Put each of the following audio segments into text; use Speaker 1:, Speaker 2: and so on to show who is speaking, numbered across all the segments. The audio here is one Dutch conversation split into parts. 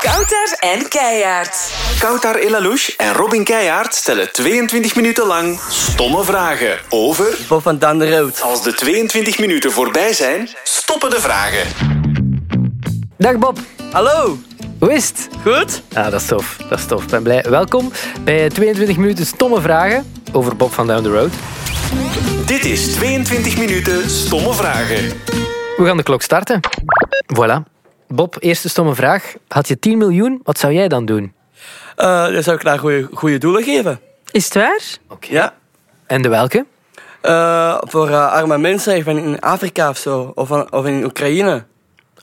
Speaker 1: Kouter en Keijaard.
Speaker 2: Koutar Elalouche en Robin Keijaard stellen 22 minuten lang stomme vragen over...
Speaker 3: Bob van Dan de Rood.
Speaker 2: Als de 22 minuten voorbij zijn, stoppen de vragen.
Speaker 4: Dag Bob,
Speaker 3: Hallo,
Speaker 4: hoe is het?
Speaker 3: goed?
Speaker 4: Ah, dat is tof, dat is tof. Ik ben blij. Welkom bij 22 minuten stomme vragen over Bob van Down the Road.
Speaker 2: Dit is 22 minuten stomme vragen.
Speaker 4: We gaan de klok starten. Voilà. Bob, eerste stomme vraag. Had je 10 miljoen, wat zou jij dan doen?
Speaker 3: Eh, dan zou ik naar goede, goede doelen geven.
Speaker 5: Is het waar?
Speaker 3: Ja.
Speaker 4: En de welke?
Speaker 3: Eh, voor eh, arme mensen even in Afrika of zo. Of, aan- of in Oekraïne.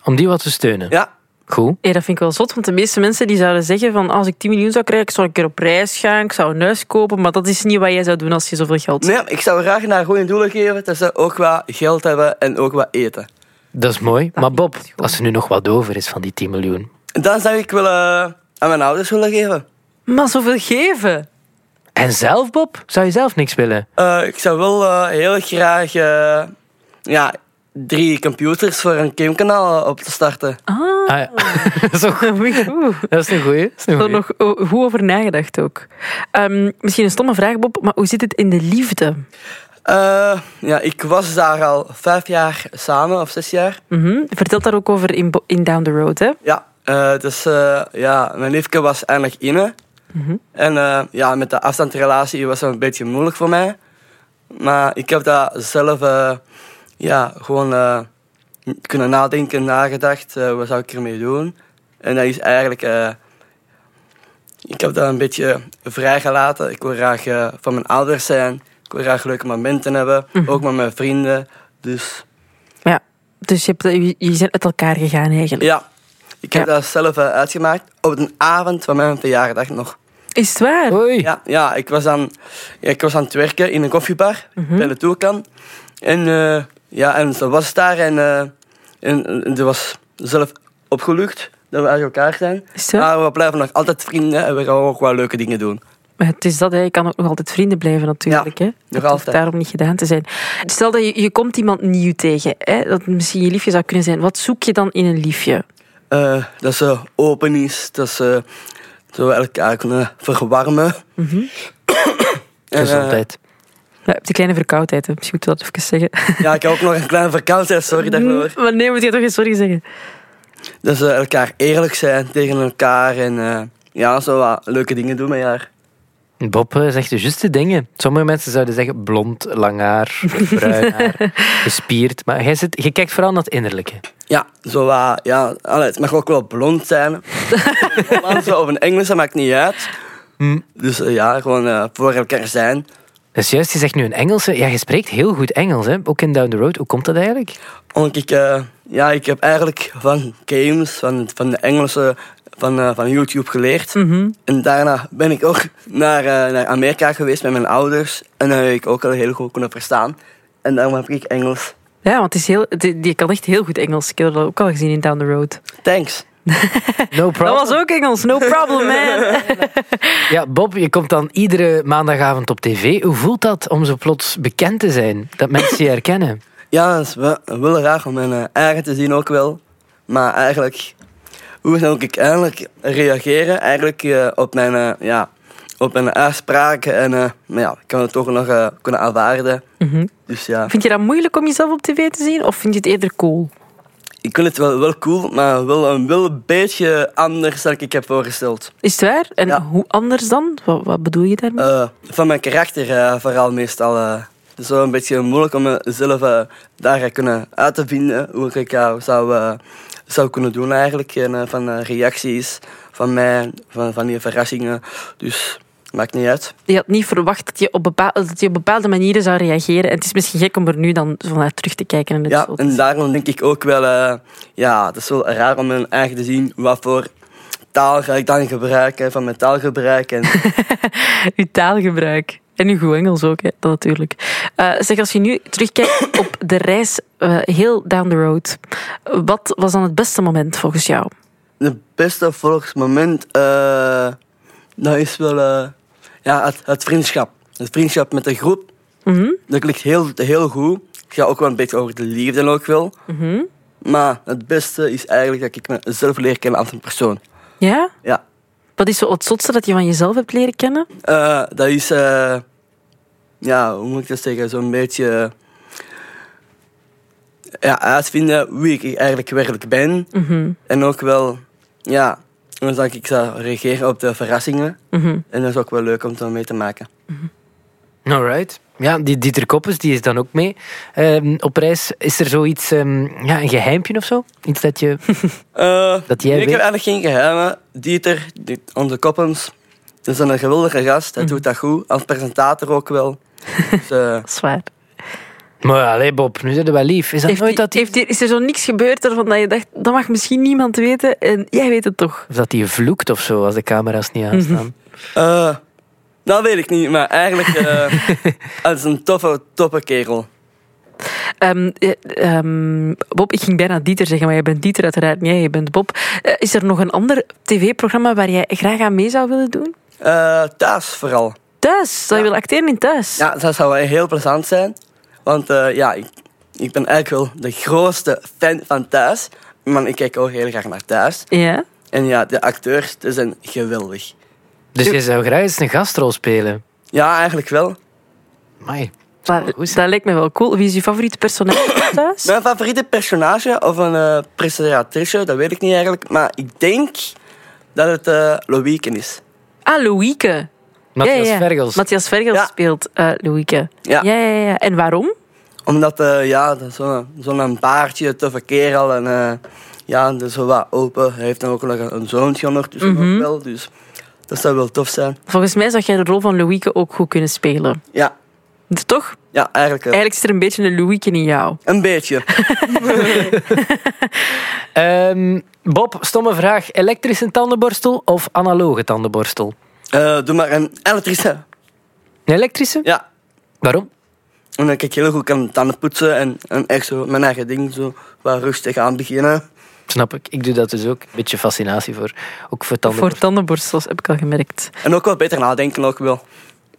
Speaker 4: Om die wat te steunen.
Speaker 3: Ja.
Speaker 4: Goed.
Speaker 5: Ja, dat vind ik wel zot, want de meeste mensen die zouden zeggen van als ik 10 miljoen zou krijgen, zou ik een keer op reis gaan, ik zou een huis kopen, maar dat is niet wat jij zou doen als je zoveel geld hebt.
Speaker 3: Nee, ik zou graag naar goede doelen geven. Dat ze ook wat geld hebben en ook wat eten.
Speaker 4: Dat is mooi. Maar Bob, als er nu nog wat over is van die 10 miljoen.
Speaker 3: Dan zou ik willen aan mijn ouders willen geven.
Speaker 5: Maar zoveel geven?
Speaker 4: En zelf, Bob? Zou je zelf niks willen?
Speaker 3: Eh, ik zou wel eh, heel graag eh, ja, drie computers voor een gamekanaal eh, op te starten.
Speaker 5: Ah,
Speaker 4: Ah, ja. dat, is ook-
Speaker 5: oeh.
Speaker 4: dat is een goeie. Dat is een
Speaker 5: Er
Speaker 4: goeie.
Speaker 5: nog o- goed over nagedacht ook. Ehm, misschien een stomme vraag, Bob, maar hoe zit het in de liefde?
Speaker 3: Eh, ja, ik was daar al vijf jaar samen, of zes jaar.
Speaker 5: Mhm. Je Vertelt daar ook over in, Bo- in Down the Road, hè?
Speaker 3: Ja, eh, dus eh, ja, mijn liefde was eindelijk inne. En eh, ja, met de afstandsrelatie was dat een beetje moeilijk voor mij. Maar ik heb daar zelf eh, ja, gewoon eh, kunnen nadenken, nagedacht. eh, wat zou ik ermee doen? En dat is eigenlijk... eh, ik heb dat een beetje vrijgelaten. Ik wil graag eh, van mijn ouders zijn. Ik wil graag leuke momenten hebben. Ook met mijn vrienden. Dus
Speaker 5: Ja. Dus je, hebt, je, je bent uit elkaar gegaan eigenlijk.
Speaker 3: Ja, ik heb
Speaker 5: Ja.
Speaker 3: dat zelf eh, uitgemaakt op de avond van mijn verjaardag nog.
Speaker 5: Is het waar?
Speaker 4: Oei.
Speaker 3: Ja, ja, ik, was aan, ik was aan het werken in een koffiebar bij de Toerkan. En, eh, ja, en ze was daar en, eh, en, en ze was zelf opgelucht dat we uit elkaar zijn.
Speaker 5: Is het?
Speaker 3: Maar we blijven nog altijd vrienden en we gaan ook wel leuke dingen doen.
Speaker 5: Maar het is dat, hè. je kan ook nog altijd vrienden blijven natuurlijk.
Speaker 3: Ja,
Speaker 5: hè.
Speaker 3: nog
Speaker 5: Dat hoeft
Speaker 3: altijd.
Speaker 5: daarom niet gedaan te zijn. Stel dat je, je komt iemand nieuw tegen, hè, dat misschien je liefje zou kunnen zijn. Wat zoek je dan in een liefje?
Speaker 3: Eh, dat ze open is, dat ze, dat we elkaar kunnen verwarmen. En, eh,
Speaker 4: Gezondheid.
Speaker 5: Nou, je hebt een kleine verkoudheid, hè. misschien moet je dat even zeggen.
Speaker 3: eh, ja, ik heb ook nog een kleine verkoudheid, sorry daarvoor.
Speaker 5: Maar nee, moet je toch eens sorry zeggen.
Speaker 3: Dat ze elkaar eerlijk zijn tegen elkaar en eh, ja, zo wat leuke dingen doen met haar.
Speaker 4: Bob eh, zegt de juiste dingen. Sommige mensen zouden zeggen blond, lang haar, bruin haar, gespierd. Maar jij, zit, jij kijkt vooral naar het innerlijke.
Speaker 3: Ja, zo wat, ja, allee, het mag ook wel blond zijn. een Hollandse of een Engelse, maakt niet uit. Dus eh, ja, gewoon eh, voor elkaar zijn.
Speaker 4: Dus juist, je zegt nu een Engelse. Ja, je spreekt heel goed Engels, hè? ook in Down the Road. Hoe komt dat eigenlijk?
Speaker 3: Omdat ik, eh, ja, ik heb eigenlijk van games, van, van de Engelse, van, eh, van YouTube geleerd. En daarna ben ik ook naar, eh, naar Amerika geweest met mijn ouders. En daar heb ik ook al heel goed kunnen verstaan. En daarom heb ik Engels.
Speaker 5: Ja, want het is heel, het- je kan echt heel goed Engels. Ik heb dat ook al gezien in Down the Road.
Speaker 3: Thanks.
Speaker 4: No problem.
Speaker 5: Dat was ook Engels, no problem, man.
Speaker 4: Ja, Bob, je komt dan iedere maandagavond op tv. Hoe voelt dat om zo plots bekend te zijn? Dat mensen je herkennen?
Speaker 3: Ja, dat is wel, wel raar om mijn eh, eigen te zien ook wel. Maar eigenlijk, hoe zou ik eigenlijk reageren eigenlijk, eh, op, mijn, eh, ja, op mijn uitspraken? En eh, maar ja, ik kan het toch nog eh, kunnen aanvaarden. Dus ja,
Speaker 5: Vind je dat moeilijk om jezelf op tv te zien? Of vind je het eerder cool?
Speaker 3: ik vind het wel, wel cool, maar wel, een- wel een beetje anders dan ik heb voorgesteld.
Speaker 5: Is het waar? En
Speaker 3: Ja.
Speaker 5: hoe anders dan? Wat, wat bedoel je daarmee?
Speaker 3: Eh, van mijn karakter eh, vooral meestal. eh. het is wel een beetje moeilijk om mezelf eh, daar eh, kunnen uit te vinden. Hoe ik eh, zou, eh, zou kunnen doen eigenlijk. En, eh, van eh, reacties van mij, van, van die verrassingen. Dus maakt niet uit.
Speaker 5: je had niet verwacht dat je op bepaalde, dat je op bepaalde manieren zou reageren. En het is misschien gek om er nu dan zo naar terug te kijken. En het
Speaker 3: Ja,
Speaker 5: zo te
Speaker 3: en
Speaker 5: zien.
Speaker 3: daarom denk ik ook wel... eh, ja, het is wel raar om mijn eigen te zien. Wat voor taal ga ik dan gebruiken? Van mijn taalgebruik en...
Speaker 5: Uw taalgebruik. En uw goed Engels ook, hè. dat natuurlijk. Eh, zeg, als je nu terugkijkt op de reis eh, heel down the road. Wat was dan het beste moment volgens jou?
Speaker 3: Het beste volgens moment, eh, dat is wel eh, ja, het, het vriendschap. Het vriendschap met de groep, dat klinkt heel, heel goed. Ik ga ook wel een beetje over de liefde ook wel. Maar het beste is eigenlijk dat ik mezelf leer kennen als een persoon.
Speaker 5: Ja?
Speaker 3: Ja.
Speaker 5: Wat is zo het zotste dat je van jezelf hebt leren kennen?
Speaker 3: Eh, dat is, eh, ja, hoe moet ik dat zeggen? Zo'n beetje ja, uitvinden wie ik eigenlijk werkelijk ben.
Speaker 5: Mhm,
Speaker 3: En ook wel, ja, hoe zal ik zou reageren op de verrassingen.
Speaker 5: mhm.
Speaker 3: En dat is ook wel leuk om dan mee te maken.
Speaker 4: Alright. Ja, die Dieter Koppes die is dan ook mee ehm, op reis. Is er zoiets, ehm, ja, een geheimpje of zo? Iets dat je...
Speaker 3: Eh,
Speaker 4: Dat jij
Speaker 3: nee, Ik
Speaker 4: weet-
Speaker 3: heb eigenlijk geen geheimen. Dieter, die- onze koppens, dat is een geweldige gast.
Speaker 5: Mhm.
Speaker 3: Hij doet dat goed. Als presentator ook wel. Dus, eh,
Speaker 5: Dat is waar.
Speaker 4: Maar allee Bob, nu zijn we wel lief. Is dat
Speaker 5: Heeft
Speaker 4: nooit
Speaker 5: die-
Speaker 4: dat die,
Speaker 5: heeft die- is er zo niks gebeurd ervan dat je dacht, dat mag misschien niemand weten en jij weet het toch?
Speaker 4: of dat die vloekt of zo als de camera's niet aanstaan?
Speaker 3: eh, dat weet ik niet, maar eigenlijk... eh hij is een toffe, toffe kerel.
Speaker 5: Ehm, eh, ehm, Bob, ik ging bijna Dieter zeggen, maar jij bent Dieter uiteraard niet, hè, je bent Bob. Eh, is er nog een ander tv-programma waar jij graag aan mee zou willen doen?
Speaker 3: Eh, thuis vooral.
Speaker 5: Thuis, zou je willen acteren in thuis?
Speaker 3: Ja, dat zou wel heel plezant zijn. Want eh, ja, ik, ik ben eigenlijk wel de grootste fan van thuis. Maar ik kijk ook heel graag naar thuis.
Speaker 5: Ja?
Speaker 3: En ja, de acteurs die zijn geweldig.
Speaker 4: Dus je zou graag eens een gastrol spelen.
Speaker 3: Ja, eigenlijk wel.
Speaker 4: Amai.
Speaker 5: Maar
Speaker 4: goed, hè?
Speaker 5: dat lijkt me wel cool. Wie is je favoriete personage thuis?
Speaker 3: Mijn favoriete personage of een eh presentatrice, dat weet ik niet eigenlijk. Maar ik denk dat het eh Loïke is.
Speaker 5: Ah, Louieke.
Speaker 4: Matthias Vergels.
Speaker 5: Matthias Vergels
Speaker 3: Ja.
Speaker 5: speelt eh Louieke.
Speaker 3: Ja.
Speaker 5: Ja, ja, ja. En waarom?
Speaker 3: Omdat, eh, ja, dat is zo'n zo'n paardje, toffe kerel. En eh, ja, dus zo wat open. Hij heeft dan ook nog een, een zoontje ondertussen
Speaker 5: Mhm.
Speaker 3: ook wel. Dus dat zou wel tof zijn.
Speaker 5: Volgens mij zou jij de rol van Louieke ook goed kunnen spelen.
Speaker 3: Ja,
Speaker 5: Toch?
Speaker 3: ja eigenlijk wel.
Speaker 5: Eigenlijk zit er een beetje een Louieke in jou.
Speaker 3: Een beetje.
Speaker 4: Ehm, Bob, stomme vraag. Elektrische tandenborstel of analoge tandenborstel?
Speaker 3: Eh, doe maar een elektrische.
Speaker 4: Een elektrische?
Speaker 3: Ja.
Speaker 4: Waarom?
Speaker 3: En dan kan ik heel goed kan tanden poetsen en, en echt zo mijn eigen ding zo wat rustig aan beginnen.
Speaker 4: Snap ik. Ik doe dat dus ook. Een beetje fascinatie voor, ook voor tandenborstel.
Speaker 5: Voor tandenborstels heb ik al gemerkt.
Speaker 3: En ook wel beter nadenken ook wel.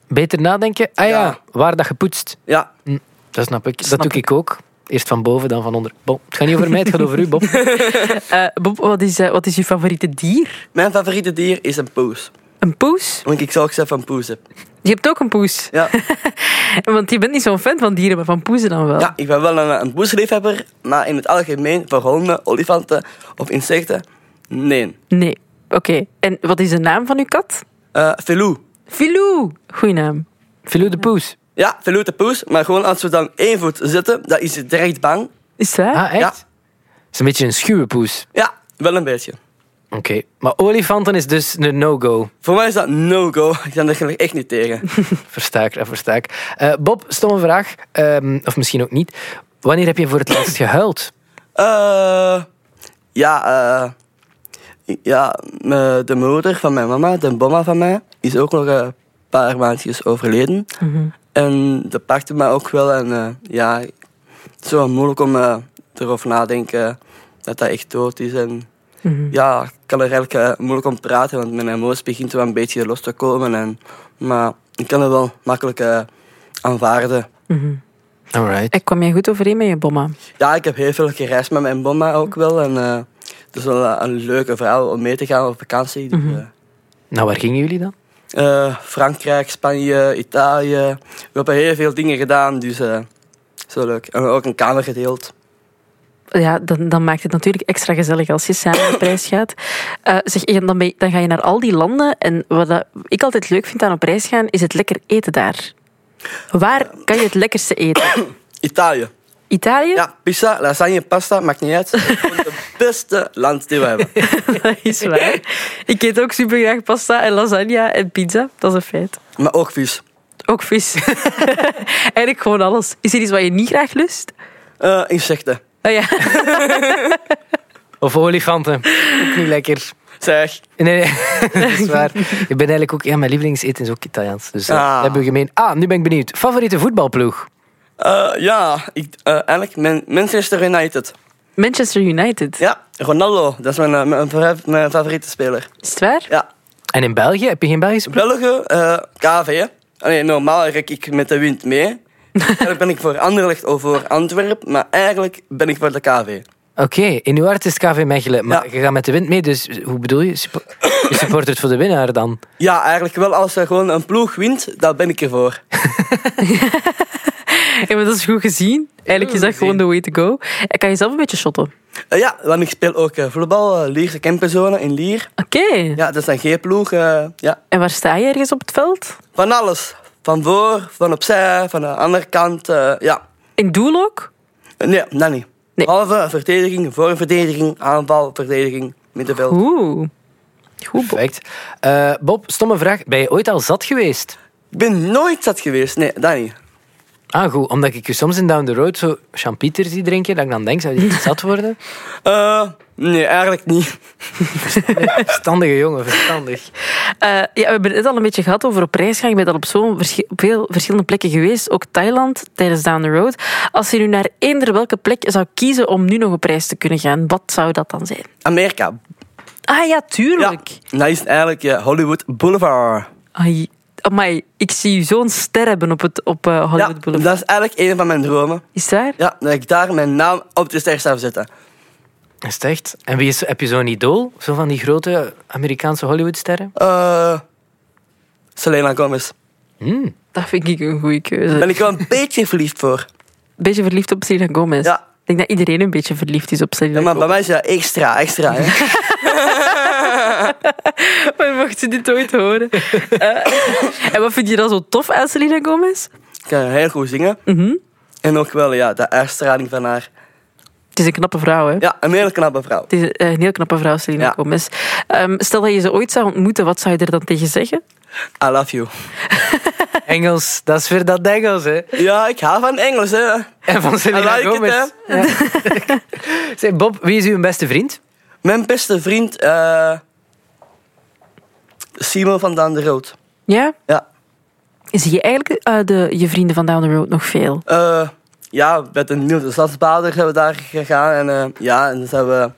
Speaker 4: Beter nadenken. Ah ja,
Speaker 3: Ja.
Speaker 4: waar dat gepoetst.
Speaker 3: Ja,
Speaker 4: Dat snap ik.
Speaker 5: Snap
Speaker 4: dat doe ik ook. Eerst van boven, dan van onder. Bon, het gaat niet over mij, het gaat over u, Bob.
Speaker 5: Eh, Bob, wat is, eh, wat is je favoriete dier?
Speaker 3: mijn favoriete dier is een poes.
Speaker 5: Een poes?
Speaker 3: Want ik zou ook zelf een poes hebben.
Speaker 5: Je hebt ook een poes.
Speaker 3: Ja,
Speaker 5: Want je bent niet zo'n fan van dieren, maar van poezen dan wel.
Speaker 3: ja ik ben wel een, een poesliefhebber, maar in het algemeen voor honden, olifanten of insecten, nee.
Speaker 5: Nee. Oké. En wat is de naam van uw kat?
Speaker 3: Eh Velou.
Speaker 5: Filou. Goeie naam.
Speaker 4: Filou de Poes.
Speaker 3: Ja, Velou de poes, maar gewoon als we dan één voet zitten, dan is ze direct bang.
Speaker 5: Is dat?
Speaker 4: Ah, echt?
Speaker 3: Ja.
Speaker 4: Dat is een beetje een schuwe poes.
Speaker 3: Ja, wel een beetje.
Speaker 4: Oké. Maar olifanten is dus een no-go.
Speaker 3: Voor mij is dat no-go. Ik kan er echt niet tegen.
Speaker 4: Versta ik, eh, versta ik. Eh, Bob, stomme vraag. Ehm, of misschien ook niet. Wanneer heb je voor het laatst gehuild?
Speaker 3: Eh ja, eh ja, eh, de moeder van mijn mama, de bomma van mij, is ook nog een paar maandjes overleden. En dat pakte mij ook wel. En eh, ja, het is wel moeilijk om eh, erover na te denken dat dat echt dood is. En
Speaker 5: Mhm.
Speaker 3: ja, ik kan er eigenlijk eh, moeilijk om praten, want mijn emoties begint wel een beetje los te komen. En, maar ik kan het wel makkelijk eh, aanvaarden.
Speaker 5: Mhm.
Speaker 4: Alright.
Speaker 5: Ik kwam jij goed overeen met je bomma?
Speaker 3: Ja, ik heb heel veel gereisd met mijn bomma ook wel. En eh, het is wel eh, een leuke vrouw om mee te gaan op vakantie. Dus,
Speaker 5: Mhm.
Speaker 4: Nou, waar gingen jullie dan?
Speaker 3: eh, eh, Frankrijk, Spanje, Italië. We hebben heel veel dingen gedaan, dus eh, zo leuk. En ook een kamer gedeeld.
Speaker 5: Ja, dan, dan maakt het natuurlijk extra gezellig als je samen op reis gaat. Eh, zeg, en dan, ben je- dan ga je naar al die landen. En wat dat- ik altijd leuk vind aan op reis gaan, is het lekker eten daar. Waar kan je het lekkerste eten?
Speaker 3: Italië.
Speaker 5: Italië?
Speaker 3: Ja, pizza, lasagne, pasta, maakt niet uit. Het is gewoon het beste land die we hebben.
Speaker 5: Dat is waar. Ik eet ook super graag pasta en lasagne en pizza. Dat is een feit.
Speaker 3: Maar ook vis.
Speaker 5: Ook vis. Eigenlijk gewoon alles. Is er iets wat je niet graag lust?
Speaker 3: Eh, insecten.
Speaker 5: Oh ja.
Speaker 4: Of olifanten? Ook niet lekker.
Speaker 3: Zeg.
Speaker 4: Nee, nee, dat is waar. Ik ben eigenlijk ook... Ja, mijn lievelingseten is ook Italiaans. Dus dat
Speaker 3: Ah.
Speaker 4: hebben we gemeen. Ah, nu ben ik benieuwd. Favoriete voetbalploeg?
Speaker 3: Eh, ja, ik, eh, eigenlijk Man- Manchester United.
Speaker 5: Manchester United.
Speaker 3: Ja, Ronaldo. Dat is mijn, eh, mijn, favori- mijn favoriete speler.
Speaker 5: Is het waar?
Speaker 3: Ja,
Speaker 4: En in België? Heb je geen Belgische ploeg?
Speaker 3: België, eh, KV. hè. Allee, normaal rek ik met de wind mee. Eigenlijk ben ik voor Anderlecht of voor Antwerpen, maar eigenlijk ben ik voor de KV.
Speaker 4: Oké, in uw hart is het KV Mechelen. Maar
Speaker 3: Ja.
Speaker 4: je gaat met de wind mee, dus hoe bedoel je? Suppo- Je supportert voor de winnaar dan?
Speaker 3: Ja, eigenlijk wel. Als er gewoon een ploeg wint, dan ben ik ervoor.
Speaker 5: Ja, maar dat is dus goed gezien. Eigenlijk is dat gewoon the way to go. En kan je zelf een beetje shotten.
Speaker 3: Eh, ja, want ik speel ook eh, voetbal, eh, Lierse Kempenzone in Lier.
Speaker 5: Oké.
Speaker 3: Ja, dat is een G-ploeg. eh, ja.
Speaker 5: En waar sta je ergens op het veld?
Speaker 3: Van alles. Van voor, van opzij, van de andere kant. eh, ja.
Speaker 5: In doel ook?
Speaker 3: Eh, Nee, dat niet.
Speaker 5: Nee.
Speaker 3: Halve verdediging, voorverdediging, aanval, verdediging, middenveld.
Speaker 5: Oeh. Goed, Bob.
Speaker 4: Perfect. Eh, Bob, stomme vraag. Ben je ooit al zat geweest?
Speaker 3: Ik ben nooit zat geweest. Nee, dat niet.
Speaker 4: Ah, goed. Omdat ik je soms in Down the Road zo champieter zie drinken, dat ik dan denk, zou je niet zat worden?
Speaker 3: Eh, nee, eigenlijk niet.
Speaker 4: Verstandige jongen, verstandig.
Speaker 5: Eh, ja, we hebben het net al een beetje gehad over op reis gaan. Je bent al op zo'n verschi- op veel verschillende plekken geweest. Ook Thailand, tijdens Down the Road. Als je nu naar eender welke plek zou kiezen om nu nog op reis te kunnen gaan, wat zou dat dan zijn?
Speaker 3: Amerika.
Speaker 5: Ah ja,
Speaker 3: Ja,
Speaker 5: tuurlijk.
Speaker 3: dat is eigenlijk eh, Hollywood Boulevard.
Speaker 5: Ai, amai, ik zie u zo'n ster hebben op, het, op eh, Hollywood
Speaker 3: ja,
Speaker 5: Boulevard.
Speaker 3: dat is eigenlijk een van mijn dromen.
Speaker 5: Is daar?
Speaker 3: Ja, dat ik daar mijn naam op de ster zou zetten.
Speaker 4: Is het echt? En wie is, heb je zo'n idool? Zo van die grote Amerikaanse Hollywoodsterren?
Speaker 3: Eh Selena Gomez.
Speaker 4: Hm.
Speaker 5: Dat vind ik een goede keuze.
Speaker 3: Ben ik wel een beetje verliefd voor.
Speaker 5: beetje verliefd op Selena Gomez.
Speaker 3: Ja.
Speaker 5: Ik denk dat iedereen een beetje verliefd is op Selena
Speaker 3: Ja, maar bij
Speaker 5: Gomez.
Speaker 3: mij is dat extra, extra. Hè?
Speaker 5: Maar mocht ze dit ooit horen. Eh, en wat vind je dan zo tof aan Selena Gomez?
Speaker 3: Ik kan heel goed zingen.
Speaker 5: Mhm.
Speaker 3: En ook wel, ja, de uitstraling van haar.
Speaker 5: Het is een knappe vrouw, hè?
Speaker 3: Ja, een hele knappe vrouw.
Speaker 5: Het is eh, een heel knappe vrouw, Selena
Speaker 3: Ja.
Speaker 5: Gomez. Ehm, stel dat je ze ooit zou ontmoeten, wat zou je er dan tegen zeggen?
Speaker 3: I love you.
Speaker 4: Engels, dat is weer dat Engels, hè?
Speaker 3: Ja, ik hou van Engels, hè.
Speaker 4: En van Selena
Speaker 3: I like it,
Speaker 4: Gomez. Ja. Zeg, Bob, wie is uw beste vriend?
Speaker 3: Mijn beste vriend, eh Simon van Daan de Rood.
Speaker 5: Ja?
Speaker 3: Ja,
Speaker 5: Zie je eigenlijk eh, de, je vrienden van Down the Road nog veel?
Speaker 3: Eh, ja, met een nieuwe stadsbader zijn we daar gegaan. En eh, ja, en dan zijn we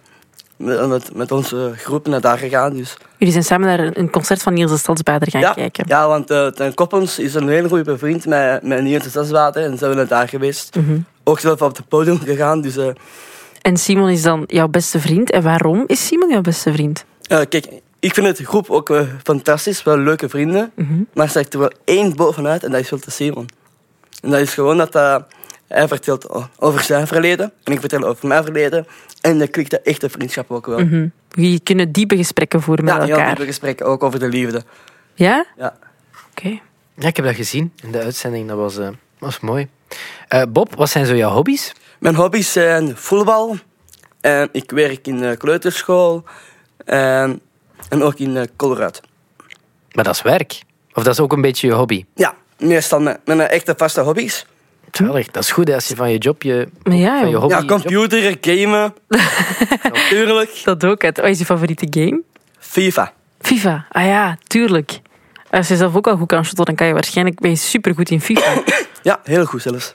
Speaker 3: met, met, met onze groep naar daar gegaan. Dus.
Speaker 5: Jullie zijn samen naar een een concert van Niels de Stadsbader gaan
Speaker 3: Ja,
Speaker 5: kijken.
Speaker 3: ja, want eh Ten Koppens is een hele goede vriend met, met Niels Stadsbader. En zijn we naar daar geweest. Ook zelf op het podium gegaan. Dus eh,
Speaker 5: En Simon is dan jouw beste vriend. En waarom is Simon jouw beste vriend?
Speaker 3: eh, kijk, ik vind het groep ook eh, fantastisch. Wel leuke vrienden. Maar er staat er wel één bovenuit en dat is Wilde Simon. En dat is gewoon dat eh, hij vertelt o- over zijn verleden. En ik vertel over mijn verleden. En dan klikt de echte vriendschap ook wel.
Speaker 5: Jullie kunnen diepe gesprekken voeren met
Speaker 3: Ja, heel
Speaker 5: elkaar.
Speaker 3: diepe gesprekken, ook over de liefde.
Speaker 5: Ja?
Speaker 3: Ja.
Speaker 5: Oké.
Speaker 4: Ja, ik heb dat gezien in de uitzending. Dat was, eh, was mooi. Eh, Bob, wat zijn zo jouw hobby's?
Speaker 3: Mijn hobby's zijn voetbal. En ik werk in de kleuterschool. En, en ook in eh, de Colorado.
Speaker 4: Maar dat is werk. Of dat is ook een beetje je hobby.
Speaker 3: Ja, meestal mijn, mijn echte vaste hobby's.
Speaker 4: Terwijl, dat is goed hè, als je van je job je,
Speaker 5: Maar ja,
Speaker 4: van je
Speaker 5: joh,
Speaker 4: hobby...
Speaker 3: ja,
Speaker 4: je job-
Speaker 3: computeren, gamen. Natuurlijk.
Speaker 5: dat ook. Het. Wat is je favoriete game?
Speaker 3: FIFA.
Speaker 5: FIFA. Ah ja, tuurlijk. Als je zelf ook al goed kan shotten, dan kan je waarschijnlijk ben je supergoed in FIFA.
Speaker 3: Ja, heel goed zelfs.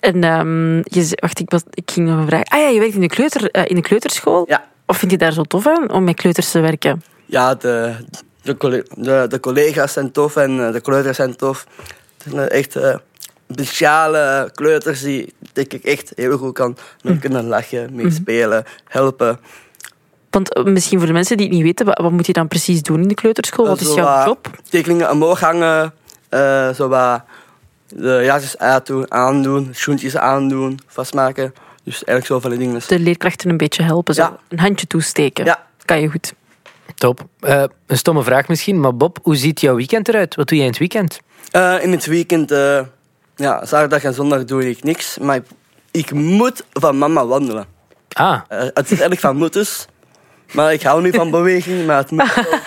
Speaker 5: en ehm, je ze- wacht, ik, was, ik ging nog een vraag. Ah ja, je werkt in de, kleuter, eh, in de kleuterschool.
Speaker 3: Ja,
Speaker 5: Of vind je daar zo tof aan om met kleuters te werken?
Speaker 3: ja de, de, colle- de, de collega's zijn tof en eh, de kleuters zijn tof. Het zijn eh, echt eh, speciale eh, kleuters die denk ik echt heel goed kan
Speaker 5: Hm.
Speaker 3: mee kunnen lachen, meespelen, helpen.
Speaker 5: Want eh, misschien voor de mensen die het niet weten, wa- wat, moet je dan precies doen in de kleuterschool? Oh, Wat is
Speaker 3: Zo
Speaker 5: jouw
Speaker 3: wat
Speaker 5: job?
Speaker 3: Tekeningen omhoog hangen, eh, zo wat de jasjes uitdoen, aandoen, schoentjes aandoen, vastmaken. Dus eigenlijk zo van die dingen.
Speaker 5: De leerkrachten een beetje helpen. Zo.
Speaker 3: Ja.
Speaker 5: Een handje toesteken.
Speaker 3: Ja.
Speaker 5: Kan je goed.
Speaker 4: Top. Eh, een stomme vraag misschien, maar Bob, hoe ziet jouw weekend eruit? Wat doe jij in het weekend?
Speaker 3: Eh, in het weekend, eh, ja, zaterdag en zondag doe ik niks, maar ik, ik moet van mama wandelen.
Speaker 4: Ah,
Speaker 3: Eh, het is eigenlijk van moeders, maar ik hou niet van beweging, maar het moet wel.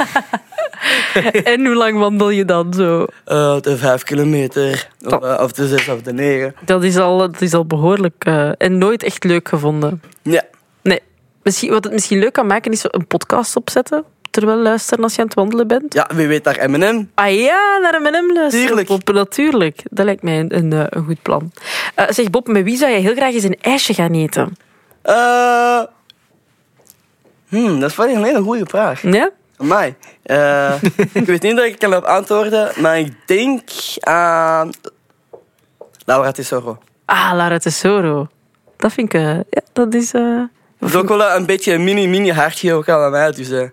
Speaker 5: en hoe lang wandel je dan zo?
Speaker 3: Eh, de vijf kilometer, of,
Speaker 5: Top.
Speaker 3: eh, of de zes of de negen.
Speaker 5: Dat is al, dat is al behoorlijk eh, en nooit echt leuk gevonden.
Speaker 3: Ja,
Speaker 5: Nee. Misschien, wat het misschien leuk kan maken is een podcast opzetten. Terwijl luisteren als je aan het wandelen bent.
Speaker 3: ja wie weet daar M&M.
Speaker 5: Ah ja, naar M&M luisteren.
Speaker 3: Tuurlijk.
Speaker 5: Bob, natuurlijk. Dat lijkt mij een, een, eh, een goed plan. Eh, zeg Bob, met wie zou jij heel graag eens een ijsje gaan eten?
Speaker 3: Eh, hmm, dat is wel een hele goede vraag.
Speaker 5: Ja?
Speaker 3: Amai. Eh, ik weet niet dat ik kan op antwoorden, maar ik denk aan... Laura Tesoro.
Speaker 5: Ah, Lara Tesoro. Dat vind ik... eh, ja, dat is... eh,
Speaker 3: Het is ook wel een beetje een mini-mini hartje ook al aan mij. Dus eh,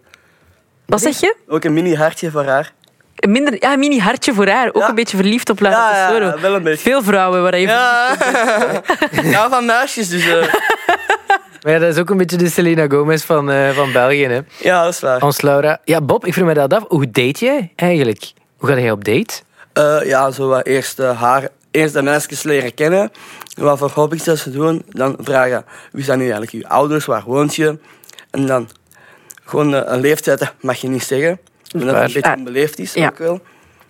Speaker 5: Wat zeg je?
Speaker 3: ook een mini hartje voor haar.
Speaker 5: Een Minder, ja, een mini hartje voor haar. Ook
Speaker 3: Ja.
Speaker 5: een beetje verliefd op Lara
Speaker 3: Ja, ja,
Speaker 5: Tesoro.
Speaker 3: wel een beetje.
Speaker 5: Veel vrouwen waar je...
Speaker 3: Ja, ik hou van meisjes, dus eh,
Speaker 4: Maar ja, dat is ook een beetje de Selena Gomez van, eh, van België. Hè.
Speaker 3: ja, dat is waar.
Speaker 4: Ons Laura. Ja, Bob, ik vroeg me dat af. Hoe date jij eigenlijk? Hoe ga jij op date?
Speaker 3: Eh, ja, zo wat eerst eh, haar, eerst de meisjes leren kennen. Wat voor hobby's dat ze doen. Dan vragen, wie zijn nu eigenlijk je ouders, waar woont je? En dan gewoon eh, een leeftijd eh, mag je niet zeggen. Omdat het
Speaker 4: waar.
Speaker 3: een beetje
Speaker 5: Ah,
Speaker 3: onbeleefd is
Speaker 5: ja.
Speaker 3: ook wel.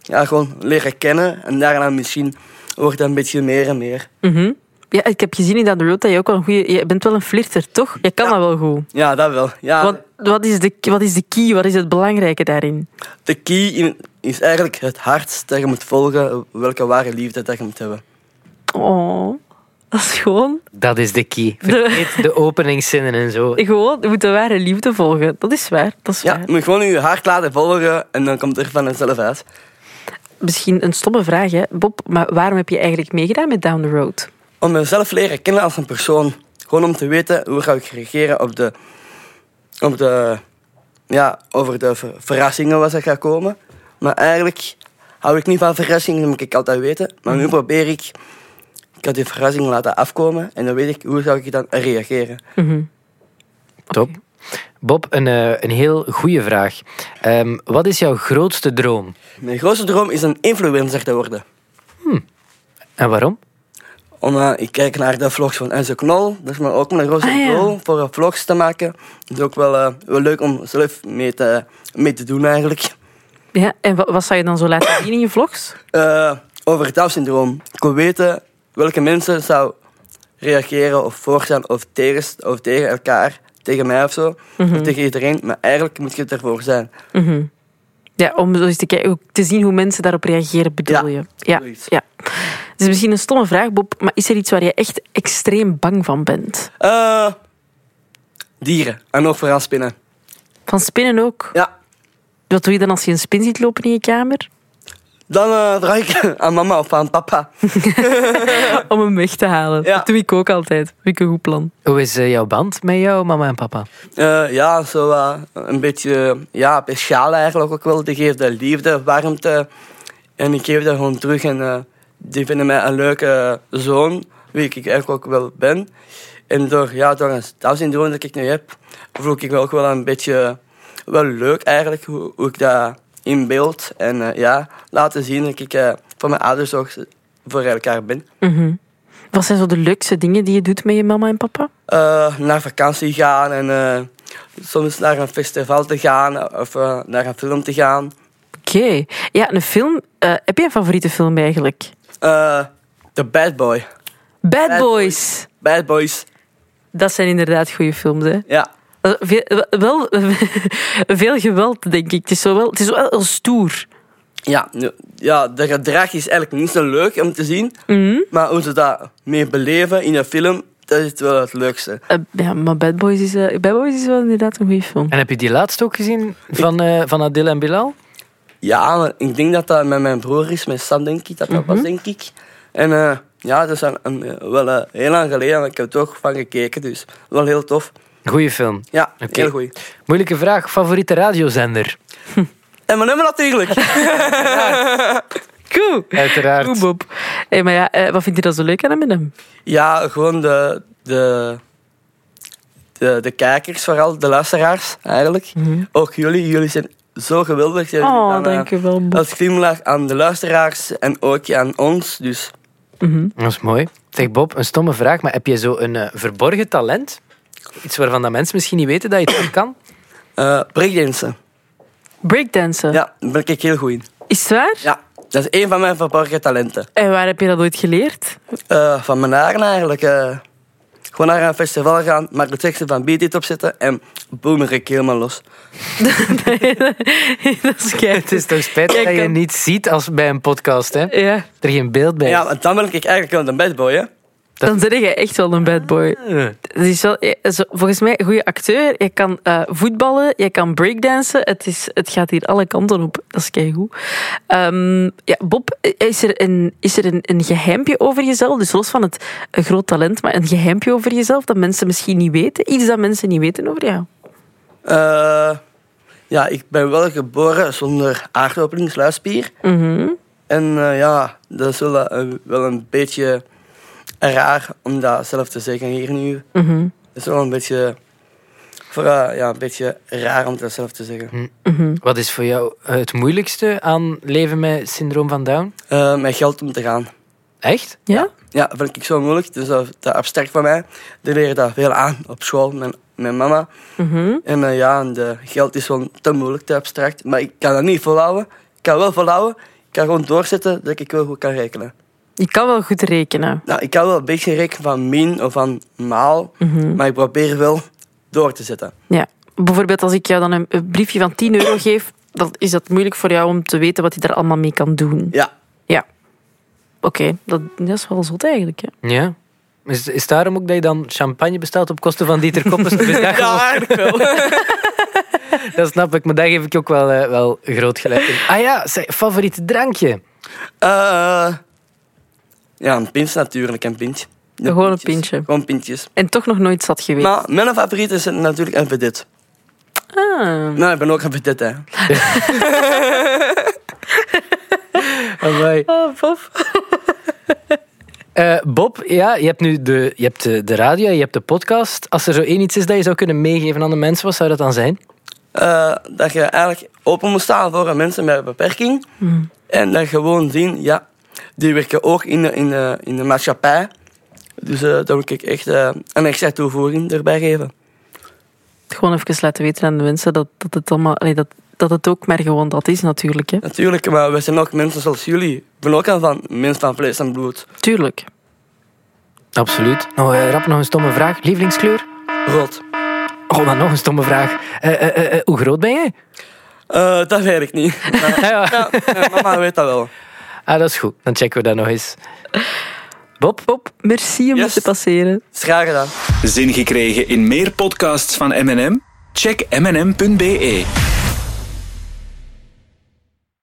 Speaker 3: Ja, gewoon leren kennen. En daarna misschien wordt dat een beetje meer en meer.
Speaker 5: Mhm. ja, ik heb gezien in dat road dat je ook wel een goede... Je bent wel een flirter, toch? Je kan dat wel goed.
Speaker 3: Ja, dat wel. Ja,
Speaker 5: Wat, wat, is de, wat is de key? Wat is het belangrijke daarin?
Speaker 3: De key in- is eigenlijk het hart dat je moet volgen. Welke ware liefde dat je moet hebben.
Speaker 5: Oh, dat is gewoon...
Speaker 4: Dat is de key.
Speaker 5: De-
Speaker 4: Vergeet de, openingszinnen en zo.
Speaker 5: Gewoon, je moet de ware liefde volgen. Dat is waar, dat is
Speaker 3: Ja,
Speaker 5: waar.
Speaker 3: je moet gewoon je hart laten volgen en dan komt er van vanzelf uit.
Speaker 5: Misschien een stomme vraag, hè, Bob. Maar waarom heb je eigenlijk meegedaan met Down the Road?
Speaker 3: Om mezelf leren kennen als een persoon. Gewoon om te weten hoe ga ik reageren op de... Op de ja, over de ver- verrassingen wat er gaat komen. Maar eigenlijk hou ik niet van verrassingen, dat moet ik altijd weten. Maar
Speaker 5: Mhm.
Speaker 3: nu probeer ik... Ik had die verrassing laten afkomen en dan weet ik hoe zou ik dan reageren.
Speaker 4: Top. Bob, een, eh, een heel goede vraag. Ehm, wat is jouw grootste droom?
Speaker 3: Mijn grootste droom is een influencer te worden.
Speaker 4: En waarom?
Speaker 3: Om, eh, ik kijk naar de vlogs van Enzo Knol. Dat is maar ook mijn grootste
Speaker 5: Ah, ja.
Speaker 3: rol voor eh, vlogs te maken. Het is ook wel, eh, wel leuk om zelf mee te, mee te doen eigenlijk.
Speaker 5: Ja, en wa- wat zou je dan zo laten zien in je vlogs?
Speaker 3: Eh, over het Down-syndroom. Ik wil weten welke mensen zou reageren of voor zijn of tegen, of tegen elkaar. Tegen mij of zo. Of tegen iedereen. Maar eigenlijk moet je het ervoor zijn.
Speaker 5: Ja, om zo eens te, kijken, te zien hoe mensen daarop reageren, bedoel
Speaker 3: Ja,
Speaker 5: je? Ja,
Speaker 3: zoiets.
Speaker 5: ja. Het is misschien een stomme vraag, Bob, maar is er iets waar je echt extreem bang van bent?
Speaker 3: Eh, dieren. En ook vooral spinnen.
Speaker 5: Van spinnen ook?
Speaker 3: Ja.
Speaker 5: Wat doe je dan als je een spin ziet lopen in je kamer?
Speaker 3: Dan eh draai ik aan mama of aan papa.
Speaker 5: Om hem weg te halen.
Speaker 3: Ja.
Speaker 5: Dat doe ik ook altijd. Vind ik een goed plan.
Speaker 4: Hoe is eh, jouw band met jouw mama en papa?
Speaker 3: Eh, ja, zo eh, een beetje eh, ja, speciaal eigenlijk ook wel. Die geeft de liefde, warmte. En ik geef dat gewoon terug. En eh, die vinden mij een leuke zoon, wie ik eigenlijk ook wel ben. En door, ja, door het Down-syndroom dat ik nu heb, voel ik me ook wel een beetje eh, wel leuk eigenlijk. Hoe, hoe ik dat in beeld en eh, ja, laten zien dat ik eh, voor mijn ouders ook voor elkaar ben.
Speaker 5: Mhm. Wat zijn zo de leukste dingen die je doet met je mama en papa?
Speaker 3: eh, naar vakantie gaan en eh, soms naar een festival te gaan of eh, naar een film te gaan.
Speaker 5: Oké. Ja, een film. eh, heb je een favoriete film eigenlijk?
Speaker 3: Eh, The Bad Boy.
Speaker 5: Bad,
Speaker 3: Bad
Speaker 5: Boys.
Speaker 3: Bad Boys,
Speaker 5: Dat zijn inderdaad goede films, hè?
Speaker 3: ja.
Speaker 5: Eh, Veel, wel, veel geweld, denk ik. Het is, zo wel, het is wel heel stoer.
Speaker 3: Ja, nu- ja, de gedrag is eigenlijk niet zo leuk om te zien,
Speaker 5: Mhm.
Speaker 3: maar hoe ze dat meer beleven in een film, dat is wel het leukste.
Speaker 5: Eh, ja, maar Bad Boys, is, eh, Bad Boys is wel inderdaad een goede film.
Speaker 4: En heb je die laatste ook gezien van, eh, van Adil en Bilal?
Speaker 3: Ja, maar ik denk dat dat met mijn broer is, met Sam denk ik, dat dat was denk ik. En eh, ja, dat is een, een- wel eh, heel lang geleden, maar ik heb er toch van gekeken, dus wel heel tof.
Speaker 4: Goeie film.
Speaker 3: Ja,
Speaker 4: Oké.
Speaker 3: heel goed.
Speaker 4: Moeilijke vraag. Favoriete radiozender?
Speaker 3: En mijn nummer natuurlijk.
Speaker 5: Cool.
Speaker 4: Uiteraard.
Speaker 5: Goed, Bob. Hey, maar ja, eh, wat vind je dan zo leuk aan hem en hem?
Speaker 3: Ja, gewoon de, de, de, de kijkers, vooral de luisteraars eigenlijk. Ook jullie, jullie zijn zo geweldig. Jullie
Speaker 5: Oh,
Speaker 3: dan, eh,
Speaker 5: dankjewel, Bob.
Speaker 3: Als glimlach aan de luisteraars en ook aan ons. Dus
Speaker 4: Dat is mooi. Zeg Bob, een stomme vraag, maar heb je zo een eh, verborgen talent? Iets waarvan dat mensen misschien niet weten dat je het ook kan?
Speaker 3: eh breakdansen,
Speaker 5: Breakdansen.
Speaker 3: ja, daar ben ik heel goed in.
Speaker 5: Is het waar?
Speaker 3: Ja, dat is een van mijn verborgen talenten.
Speaker 5: En waar heb je dat ooit geleerd?
Speaker 3: Eh, van mijn haren eigenlijk. eh, gewoon naar een festival gaan, maar de teksten van Beat It opzetten en boem, ik helemaal los.
Speaker 5: dat is kei.
Speaker 4: Het is toch spijtig
Speaker 5: Jij
Speaker 4: dat je
Speaker 5: kan-
Speaker 4: niet ziet als bij een podcast, hè?
Speaker 5: Ja.
Speaker 4: Er geen beeld bij.
Speaker 3: Ja,
Speaker 4: is.
Speaker 3: want dan ben ik eigenlijk wel de bad boy, hè.
Speaker 5: Dan zeg je echt wel een bad boy. Het is wel, eh, zo- volgens mij, een goede acteur. Je kan eh, voetballen, je kan breakdansen. Het, is, het gaat hier alle kanten op. Dat is keigoed. Ehm ja, Bob, eh, is er, een, is er een, een geheimpje over jezelf? Dus los van het een groot talent, maar een geheimpje over jezelf dat mensen misschien niet weten? Iets dat mensen niet weten over jou?
Speaker 3: Eh, ja, ik ben wel geboren zonder aardopeningsluispier.
Speaker 5: Mhm,
Speaker 3: En eh, ja, dat is wel, eh, wel een beetje raar om dat zelf te zeggen hier nu.
Speaker 5: mhm.
Speaker 3: Het is wel een beetje, vooral, ja, een beetje raar om dat zelf te zeggen.
Speaker 4: Wat is voor jou eh, het moeilijkste aan leven met syndroom van Down?
Speaker 3: Eh, met geld om te gaan.
Speaker 4: Echt?
Speaker 5: Ja?
Speaker 3: Ja, vind ik zo moeilijk. Dus dat is te abstract van mij. Die leren dat veel aan op school, mijn, mijn mama.
Speaker 5: Mhm.
Speaker 3: En eh, ja, en de geld is gewoon te moeilijk, te abstract. Maar ik kan dat niet volhouden. Ik kan wel volhouden. Ik kan gewoon doorzetten dat ik wel goed kan rekenen.
Speaker 5: Je kan wel goed rekenen.
Speaker 3: Nou, ik kan wel een beetje rekenen van min of van maal.
Speaker 5: Mhm.
Speaker 3: Maar ik probeer wel door te zetten.
Speaker 5: Ja. Bijvoorbeeld als ik jou dan een, een briefje van 10 euro geef, dan is dat moeilijk voor jou om te weten wat je daar allemaal mee kan doen.
Speaker 3: Ja,
Speaker 5: Ja. Oké, dat, dat is wel zot eigenlijk. Hè?
Speaker 4: Ja. Is, is daarom ook dat je dan champagne bestelt op kosten van Dieter Koppers? Of is dat gewoon- Dat snap ik, maar daar geef ik ook wel, eh, wel groot gelijk in. Ah ja, zijn favoriete drankje.
Speaker 3: Eh, ja een pint natuurlijk, een pint. De
Speaker 5: Gewoon een
Speaker 3: pintjes.
Speaker 5: pintje.
Speaker 3: Gewoon pintjes.
Speaker 5: En toch nog nooit zat geweest.
Speaker 3: Maar mijn favoriet is natuurlijk een vedette.
Speaker 5: Ah.
Speaker 3: Nou, ik ben ook een vedette, hè.
Speaker 4: Amai.
Speaker 5: Ah, Bob.
Speaker 4: Eh, Bob, ja, je hebt nu de, je hebt eh, de, de radio, je hebt de podcast. Als er zo één iets is dat je zou kunnen meegeven aan de mensen, wat zou dat dan zijn?
Speaker 3: Eh, dat je eigenlijk open moet staan voor mensen met een beperking. En dat gewoon zien, ja, die werken ook in de, in de, in de maatschappij. Dus eh daar moet ik echt eh, een extra toevoeging erbij geven.
Speaker 5: Gewoon even laten weten aan de mensen dat, dat, het, allemaal, allee, dat, dat het ook maar gewoon dat is natuurlijk. Hè?
Speaker 3: Natuurlijk, maar we zijn ook mensen zoals jullie. Ik ben ook al van mensen van vlees en bloed.
Speaker 5: Tuurlijk.
Speaker 4: Absoluut. Nou, eh, rap nog een stomme vraag. Lievelingskleur?
Speaker 3: Rot.
Speaker 4: Oh, maar nog een stomme vraag. Eh, eh, eh, eh, hoe groot ben jij?
Speaker 3: Eh, dat weet ik niet. Maar,
Speaker 4: Ah, ja.
Speaker 3: ja, eh, mama weet dat wel.
Speaker 4: Ah, dat is goed. Dan checken we dat nog eens. Bob?
Speaker 5: Bob, merci om
Speaker 3: Yes.
Speaker 5: dit te passeren.
Speaker 3: Schraag gedaan.
Speaker 2: Zin gekregen in meer podcasts van M&M? Check mm.be.